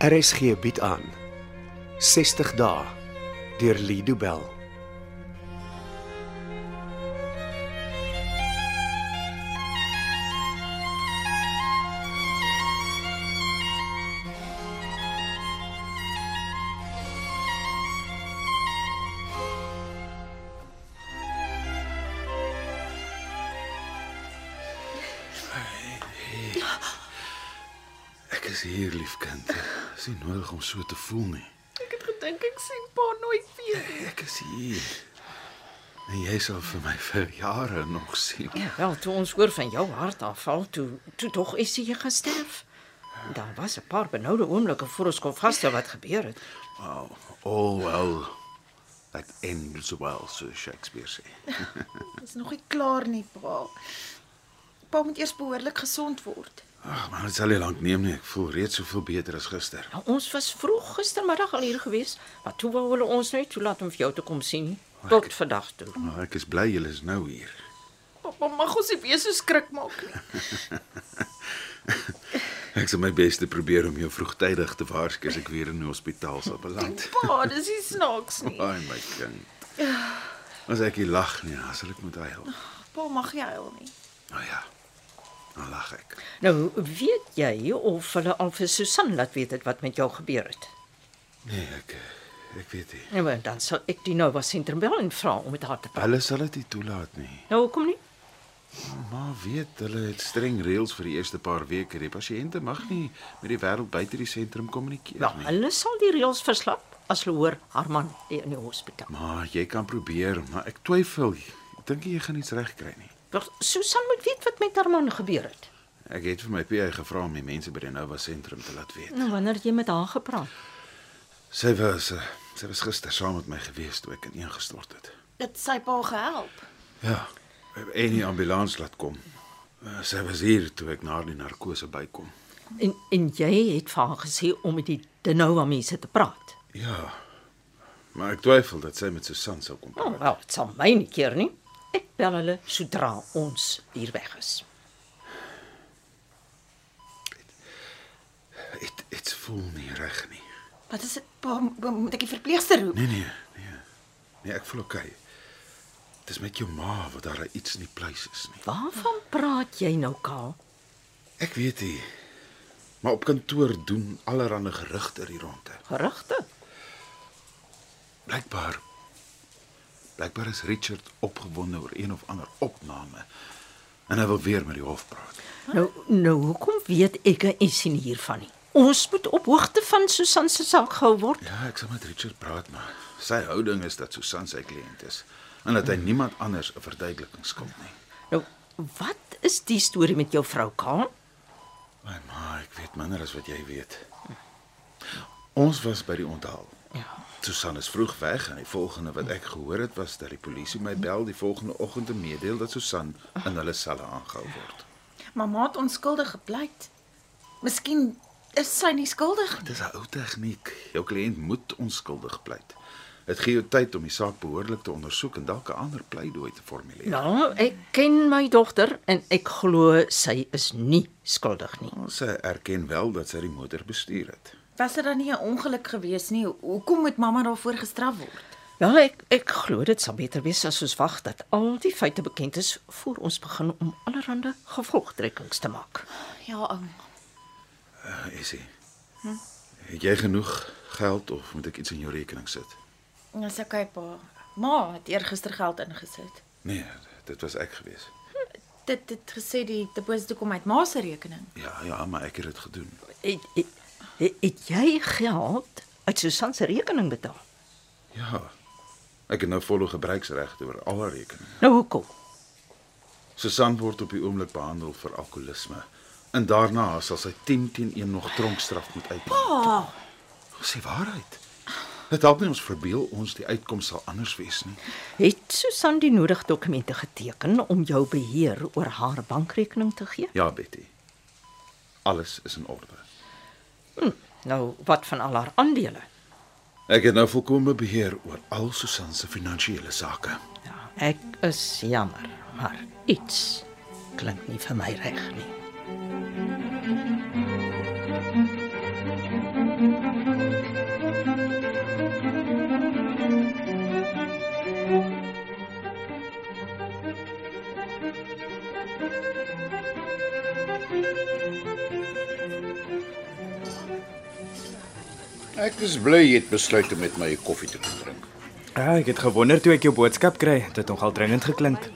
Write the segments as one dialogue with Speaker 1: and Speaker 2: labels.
Speaker 1: RSG bied aan 60 dae deur Lido Bell.
Speaker 2: Ek is hier, liefkind. Dis nie nodig om so te voel nie.
Speaker 3: Ek het gedink ek sien pa nooit weer.
Speaker 2: Ek is hier. En jy sal vir my vir jare nog sien.
Speaker 3: Ja, wel, toe ons hoor van jou hartaanval, toe toe tog is jy gesterf. Daar was 'n paar benoude oomblikke voor ons kon vasstel wat gebeur het.
Speaker 2: Wow. Oh well. That ends well, so Shakespeare sê.
Speaker 4: Dis nog nie klaar nie, pa. Pa moet eers behoorlik gesond word.
Speaker 2: Ag, maar dit sal nie lank neem nie. Ek voel reeds soveel beter as gister.
Speaker 3: Nou, ons was vroeg gistermiddag al hier gewees, maar toe wou hulle ons net toelaat om vir jou te kom sien nie. Tot vandag toe.
Speaker 2: Maar ek is bly jy is nou hier.
Speaker 4: Pappa mag ons nie weer so skrik maak nie.
Speaker 2: Ek sal my bes te probeer om jou vroegtydig te waarsku as ek weer in die hospitaal sal beland.
Speaker 4: Pa, dis nie snaaks nie.
Speaker 2: Ai my kind. As ek nie lag nie, dan sal ek moet huil.
Speaker 4: Pa mag nie huil nie.
Speaker 2: Nou ja. Dan lag ek.
Speaker 3: Nou, weet jy of hulle al vir Susan laat weet het wat met jou gebeur het?
Speaker 2: Nee, ek ek weet nie.
Speaker 3: Nou, en dan sal ek die Nova Sentrum bel en vra om met haar te praat.
Speaker 2: Hulle sal dit nie toelaat nie.
Speaker 3: Nou, hoekom nie?
Speaker 2: Maar weet, hulle het streng reëls vir die eerste paar weke. Die pasiënte mag nie met die wêreld buite die sentrum kommunikeer
Speaker 3: Wel,
Speaker 2: nie.
Speaker 3: Nou, hulle sal die reëls verslap as hulle hoor haar man lê in die hospitaal.
Speaker 2: Maar jy kan probeer, maar ek twyfel. Ek dink nie jy gaan iets reg kry nie.
Speaker 3: Wag, Susan moet weet wat met haar man gebeur het.
Speaker 2: Ek het vir my PA gevra om die mense by die Nova sentrum te laat weet.
Speaker 3: Nou wanneer jy met haar gepraat.
Speaker 2: Sy was eh, sy was gister saam met my gewees toe ek ineengestort het.
Speaker 4: Dit sy pa gehelp.
Speaker 2: Ja, en die ambulans laat kom. Eh, Sy was hier toe ek na die narkose bykom.
Speaker 3: En en jy het vir haar gesê om met die Denoa mense te praat.
Speaker 2: Ja. Maar ek twyfel dat sy met Susan sou kom
Speaker 3: Nou
Speaker 2: praat.
Speaker 3: wel, dit sal my nie keer nie. Ek bel hulle sodra ons hier weg is.
Speaker 2: Dit dit voel nie reg nie.
Speaker 4: Wat is dit? Pa, mo- moet ek die verpleegster roep?
Speaker 2: Nee nee, nee. Nee, ek voel oké. Dit is met jou ma wat daar iets nie pleis is nie.
Speaker 3: Waarvan praat jy nou, Kaal?
Speaker 2: Ek weet nie. Maar op kantoor doen allerlei gerugte hier rondte.
Speaker 3: Gerugte?
Speaker 2: Blykbaar Blykbaar is Richard opgewonde oor een of ander opname en hy wil weer met die hof praat.
Speaker 3: Nou nou hoekom weet ek en sien hiervan nie? Ons moet op hoogte van Susan se saak gehou word.
Speaker 2: Ja, ek sal met Richard praat, maar sy houding is dat Susan sy kliënt is en dat hy niemand anders 'n verduideliking skuld nie.
Speaker 3: Nou, wat is die storie met jou vrou, Kaal?
Speaker 2: My ma, ek weet minder as wat jy weet. Ons was by die onthaal.
Speaker 3: Ja.
Speaker 2: Susan is vroeg weg en die volgende wat ek gehoor het was dat die polisie my bel die volgende oggend en meedeel dat Susan in hulle selle aangehou word.
Speaker 4: Mamma het onskuldig gepleit. Miskien is sy nie skuldig nie.
Speaker 2: Dis 'n ou tegniek. Jou kliënt moet onskuldig pleit. Dit gee jou tyd om die saak behoorlik te ondersoek en dalk 'n ander pleidooi te formuleer.
Speaker 3: Ja, ek ken my dogter en ek glo sy is nie skuldig nie.
Speaker 2: Ons erken wel dat sy die motor bestuur het.
Speaker 4: Was dit dan nie 'n ongeluk gewees nie? Hoekom moet mamma daarvoor gestraf word?
Speaker 3: Ja, ek ek glo dit sal beter wees as ons wag dat al die feite bekend is voor ons begin om allerlei gevolgtrekkings te maak.
Speaker 4: Ja, oom.
Speaker 2: Uh, Isie. Hm? Het jy genoeg geld of moet ek iets in jou rekening sit?
Speaker 4: Dis okay, pa. Ma het eergister geld ingesit.
Speaker 2: Nee, dit was ek gewees.
Speaker 4: Dit dit gesê die deposito kom uit ma se rekening.
Speaker 2: Ja, ja, maar ek het dit gedoen.
Speaker 3: Het, het, het, het jy geld uit Susan se rekening betaal?
Speaker 2: Ja. Ek het nou volle gebruiksregte oor al haar rekeninge.
Speaker 3: Nou hoekom?
Speaker 2: Susan word op die oomblik behandel vir alkoholisme en daarna sal sy 10 teen 1 nog tronkstraf moet uitmaak.
Speaker 4: Pa,
Speaker 2: Sê waarheid. Dit help nie ons verbeel ons die uitkoms sal anders wees nie.
Speaker 3: Het Susan die nodige dokumente geteken om jou beheer oor haar bankrekening te gee?
Speaker 2: Ja, Betty. Alles is in orde.
Speaker 3: Nou, wat van al haar aandele?
Speaker 2: Ek het nou volkomme beheer oor al Susan se finansiële sake.
Speaker 3: Ja, ek is jammer, maar iets klink nie vir my reg nie.
Speaker 2: Ek is bly jy het besluit om met my koffie te kom drink.
Speaker 5: Ja, ek het gewonder toe ek jou boodskap kry. Dit het nogal dringend geklink.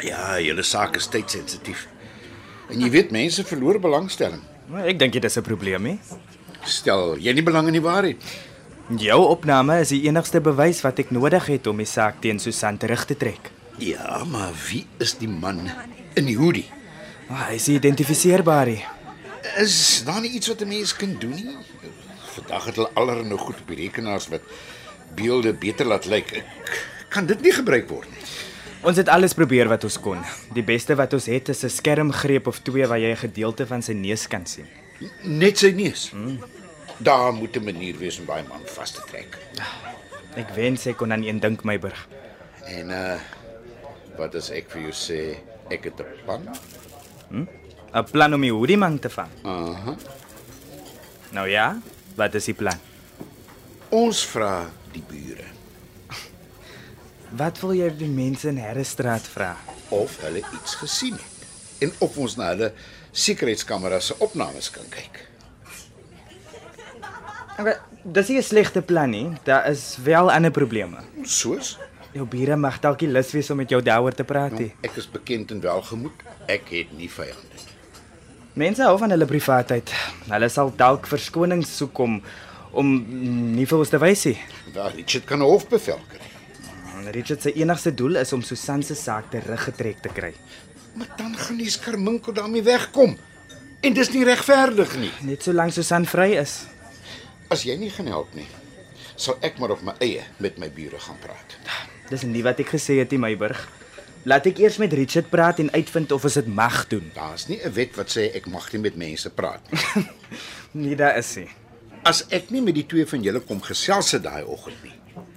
Speaker 2: Ja, julle saak is tydsensitief. En jy weet mense verloor belangstelling.
Speaker 5: Maar ek dink dit is 'n probleem, hè?
Speaker 2: Stel jy nie belang in die waarheid.
Speaker 5: Jou opname is die enigste bewys wat ek nodig het om die saak teen Susan terug te trek.
Speaker 2: Ja, maar wie is die man in die hoodie?
Speaker 5: Maar hy is nie identifiseerbaar nie.
Speaker 2: Is daar nie iets wat 'n mens kan doen nie? Vandag het hulle allerlei goed op die rekenaars wat beelde beter laat lyk. Ek- Kan dit nie gebruik word nie?
Speaker 5: Ons het alles probeer wat ons kon. Die beste wat ons het is 'n skermgreep of twee waar jy 'n gedeelte van sy neus kan sien.
Speaker 2: Net sy neus. Daar moet 'n manier wees om daai man vas te trek.
Speaker 5: Ek wens ek kon aan een dink, Meiburg.
Speaker 2: En uh wat as ek vir jou sê ek het 'n plan?
Speaker 5: 'n Plan om die hoodie man te vang.
Speaker 2: Aha.
Speaker 5: Nou ja, wat is die plan?
Speaker 2: Ons vra die bure
Speaker 5: Wat wil jy die mense in Herrestraat vra?
Speaker 2: of hulle iets gesien het en of ons na hulle sekuriteitskameras se opnames kan kyk.
Speaker 5: Okay, dis nie 'n slegte plan nie. Daar is wel ander probleme.
Speaker 2: Soos
Speaker 5: Jou bure mag dalk nie lus wees om met jou daaroor te praat nie.
Speaker 2: ek is bekend en welgemoed, ek het nie vyande nie.
Speaker 5: Mense hou van hulle privaatheid. Hulle sal dalk verskonings soek om om nie vir ons te wys nie.
Speaker 2: Wel, Richard kan 'n hofbevel kry.
Speaker 5: Richard se enigste doel is om Susan se saak teruggetrek te kry.
Speaker 2: Maar dan gaan die skerminkel daarmee wegkom. En dis nie regverdig nie.
Speaker 5: Net solank Susan vry is.
Speaker 2: As jy nie gaan help nie, sal ek maar op my eie met my bure gaan praat.
Speaker 5: Dis nie wat ek gesê het nie, Meiburg. Laat ek eers met Richard praat en uitvind of ons dit mag doen.
Speaker 2: Daar's nie 'n wet wat sê ek mag nie met mense praat nie.
Speaker 5: Nee, daar is hy.
Speaker 2: As ek nie met die twee van julle kom gesels het daai oggend nie,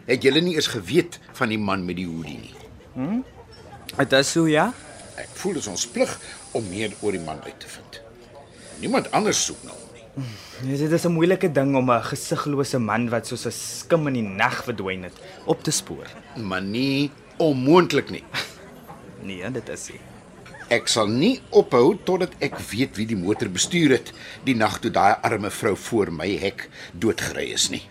Speaker 2: het julle nie eens geweet van die man met die hoodie nie.
Speaker 5: Dit is so ja.
Speaker 2: Ek voel dit is ons plig om meer oor die man uit te vind. Niemand anders soek na hom nie.
Speaker 5: Nee, dit is 'n moeilike ding om 'n gesiglose man wat soos 'n skim in die nag verdwyn het, op te spoor.
Speaker 2: Maar nie onmoontlik nie.
Speaker 5: Nee, dit is hy.
Speaker 2: Ek sal nie ophou totdat ek weet wie die motor bestuur het die nag toe daai arme vrou voor my hek doodgery is nie.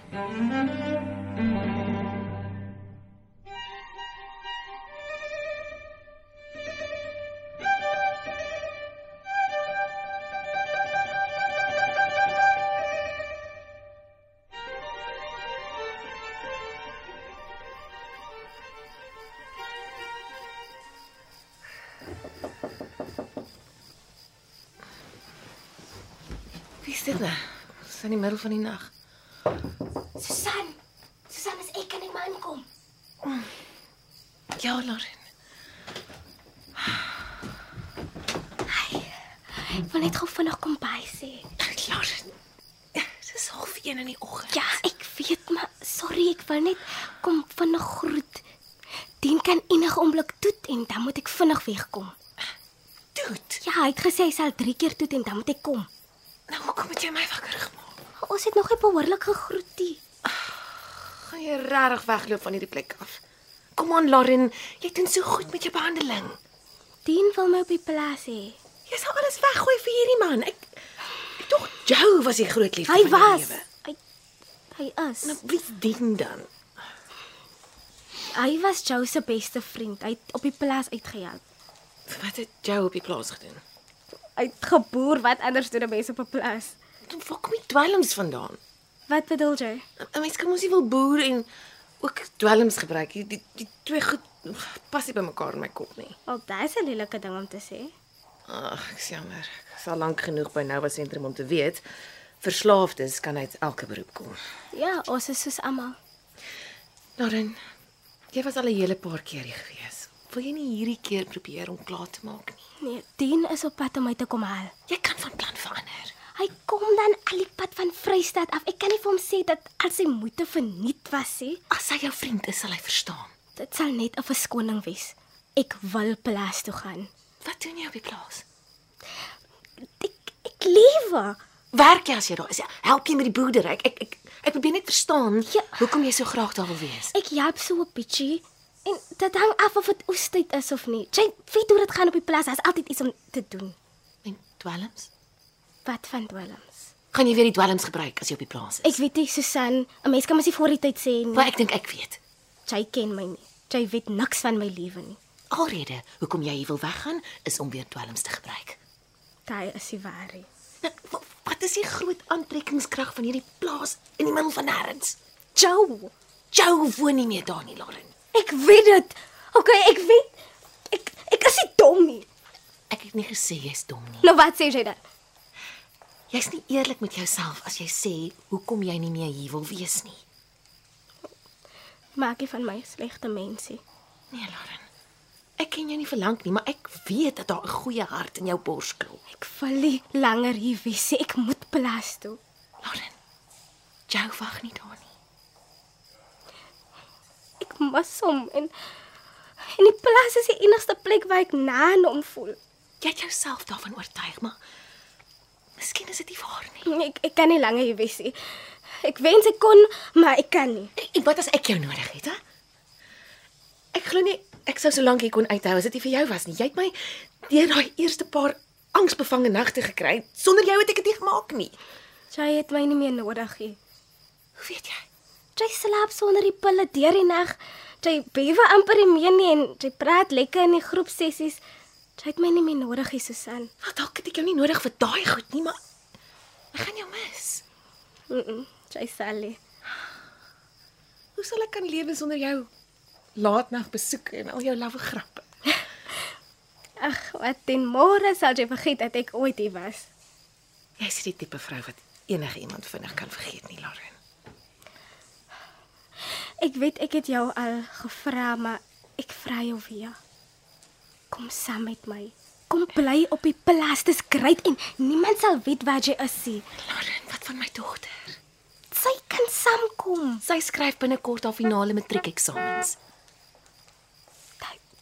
Speaker 4: Wie is dit nou? Dis in die middel van die nag.
Speaker 6: Susan, Susan is ek kan nie maar aankom.
Speaker 4: Ja, Lauren.
Speaker 6: Ek wil net gou vinnig kom by sê.
Speaker 4: Lauren. Dis half 1 in die oggend.
Speaker 6: Ja, ek weet maar, sorry, ek wil net kom vinnig groet. Dien kan enige oomblik toet en dan moet ek vinnig wegkom.
Speaker 4: Toet.
Speaker 6: Ja, hy het gesê hy sal 3 keer toet en dan moet ek kom.
Speaker 4: Nou hoekom het jy my wakker gemaak?
Speaker 6: Ons het nog nie behoorlik gegroet nie.
Speaker 4: Gaan jy regtig wegloop van hierdie plek af? Kom aan, Lauren. Jy doen so goed met jou behandeling.
Speaker 6: Dien wil my op die plaas hê.
Speaker 4: Jy sal alles weggooi vir hierdie man. Ek ek dog Joe was die groot liefde
Speaker 6: Hy
Speaker 4: van jou
Speaker 6: was.
Speaker 4: lewe.
Speaker 6: Hy hy is.
Speaker 4: Nou wie dien dan?
Speaker 6: Hy was Joe se beste vriend. Hy het op die plaas uitgehelp.
Speaker 4: Wat het Joe op die plaas gedoen?
Speaker 6: Hy het geboer wat anders doen 'n mens op 'n plaas.
Speaker 4: Toe waar kom die dwelms vandaan?
Speaker 6: Wat bedoel jy?
Speaker 4: 'n Mens kan mos nie wil boer en ook dwelms gebruik. Die die, die twee goed pas nie by mekaar in my kop nie.
Speaker 6: Wel, dit is 'n lelike ding om te sê.
Speaker 4: Ag, ek is jammer. Ek is al lank genoeg by Nova Sentrum om te weet verslaafdes kan uit elke beroep kom.
Speaker 6: Ja, ons is soos almal.
Speaker 4: Lauren, jy was al 'n hele paar keer hier gewees. Wil jy nie hierdie keer probeer om klaar te maak nie?
Speaker 6: Nee, Dien is op pad om my te kom haal.
Speaker 4: Jy kan van plan verander.
Speaker 6: Hy kom dan al die pad van Vrystaat af. Ek kan nie vir hom sê dat al sy moeite verniet was nie.
Speaker 4: As hy jou vriend is, sal hy verstaan.
Speaker 6: Dit sal net 'n verskoning wees. Ek wil plaas toe gaan.
Speaker 4: Wat doen jy op die plaas?
Speaker 6: Ek ek lewe.
Speaker 4: Werk jy as jy daar is? Ja, Help jy met die boerdery? Ek ek ek, ek probeer net verstaan ja. hoekom jy so graag daar wil wees.
Speaker 6: Ek help so 'n bietjie En dit hang af of dit oestyd is of nie. Jy weet hoe dit gaan op die plaas, daar's altyd iets om te doen.
Speaker 4: En dwelms?
Speaker 6: Wat van dwelms?
Speaker 4: Gaan jy weer die dwelms gebruik as jy op die plaas is?
Speaker 6: Ek weet nie, Susan, 'n mens kan mos nie voor die tyd sê nie.
Speaker 4: maar ek dink ek weet.
Speaker 6: Jy ken my nie. Jy weet niks van my lewe nie.
Speaker 4: Alrede hoekom jy hier wil weggaan is om weer dwelms te gebruik.
Speaker 6: Jy is die ware.
Speaker 4: Nou, wa- wat is die groot aantrekkingskrag van hierdie plaas in die middel van nêrens? Jou, jou woon nie meer daar nie, Lauren.
Speaker 6: Ek weet dit. OK, ek weet ek ek is nie dom nie.
Speaker 4: Ek het nie gesê jy's dom nie.
Speaker 6: Nou wat sê jy dan?
Speaker 4: Jy's nie eerlik met jouself as jy sê hoekom jy nie meer hier wil wees nie.
Speaker 6: Maak jy van my 'n slegte mensie?
Speaker 4: Nee, Lauren. Ek ken jou nie verlang nie, maar ek weet dat daar 'n goeie hart in jou bors klop.
Speaker 6: Ek wil nie langer hier wees nie. Ek moet plaas toe.
Speaker 4: Lauren. Jou wag nie daar nie.
Speaker 6: Ek mis hom en en die plaas is die enigste plek waar ek na aan hom voel.
Speaker 4: Jy het jouself daarvan oortuig, maar miskien is dit nie waar nie.
Speaker 6: Ek ek kan nie langer hier wees nie. Ek wens ek kon, maar ek kan nie.
Speaker 4: En wat as ek jou nodig het, hè? Ek glo nie ek sou so lank hier kon uithou as dit nie vir jou was nie. Jy het my deur daai eerste paar angsbevange nagte gekry. Sonder jou het ek dit nie gemaak nie.
Speaker 6: Jy het my nie meer nodig nie.
Speaker 4: Hoe weet jy?
Speaker 6: Jy slaap sonder die pille deur die nag. Jy bewe amper nie meer nie en jy praat lekker in die groepsessies. Jy het my nie meer nodig nie, Susan.
Speaker 4: Want dalk het ek jou nie nodig vir daai goed nie, maar ek gaan jou mis.
Speaker 6: Mm -mm, jy sal nie.
Speaker 4: Hoe sal ek kan lewe sonder jou laatnag besoeke en al jou lawwe grappe?
Speaker 6: Ag, wat ten môre sal jy vergeet dat ek ooit hier was.
Speaker 4: Jy's die tipe vrou wat enige iemand vinnig kan vergeet nie, Lauren.
Speaker 6: Ek weet ek het jou al gevra, maar ek vra jou weer. Kom saam met my. Kom bly op die plaas, dis great en niemand sal weet waar jy is nie.
Speaker 4: Lauren, wat van my dogter?
Speaker 6: Sy kan saamkom.
Speaker 4: Sy skryf binnekort haar finale matriekeksamens.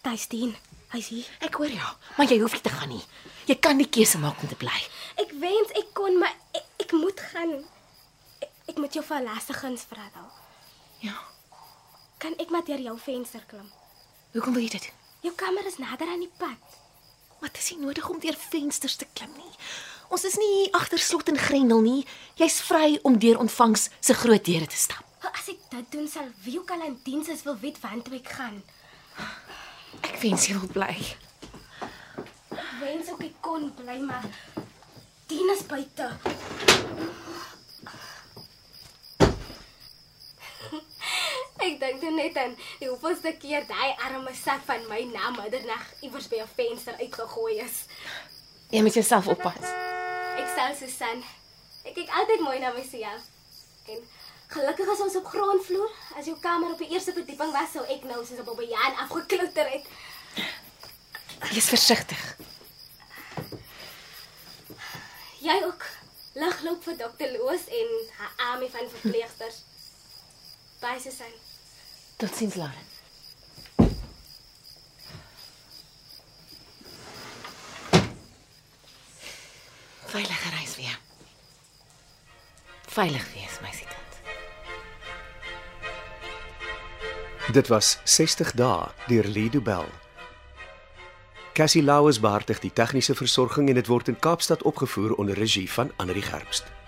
Speaker 6: Tuisdien, hy's hier.
Speaker 4: Ek hoor jou, maar jy hoef nie te gaan nie. Jy kan die keuse maak om te bly.
Speaker 6: Ek wens ek kon, maar ek, ek moet gaan. Ek, ek moet jou vir lastigins vra daal.
Speaker 4: Ja.
Speaker 6: Kan ek maar deur jou venster klim?
Speaker 4: Hoekom wil jy dit? doen?
Speaker 6: Jou kamer is nader aan die pad.
Speaker 4: Maar dit is nie nodig om deur vensters te klim nie. Ons is nie hier agter slot en grendel nie. Jy's vry om deur ontvangs se groot deure te stap.
Speaker 6: As ek dit doen sal wie ook al aan diens is wil weet wantoe ek gaan.
Speaker 4: Ek wens jy wil bly.
Speaker 6: Ek wens ook ek kon bly, maar Dien is buite. Ek dink toe net aan die hoeveelste keer daai arme sak van my na middernag iewers by 'n venster uitgegooi is.
Speaker 4: Jy moet jouself oppas.
Speaker 6: Ek sal Susan. Ek kyk altyd mooi na myself. En gelukkig is ons op grondvloer. As jou kamer op die eerste verdieping was, sou ek nou soos op 'n bejaan afgeklouter het.
Speaker 4: Wees versigtig.
Speaker 6: Jy ook. Lig loop vir dokter Loos en haar army van verpleegsters. Bye Susan.
Speaker 4: Totsiens, Lauren. Veilige reis weer. Veilig wees, my sietant.
Speaker 1: Dit was 60 dae deur Lido Bell. Cassie Lauers beheer die tegniese versorging en dit word in Kaapstad opgevoer onder regie van Anri Gerbst.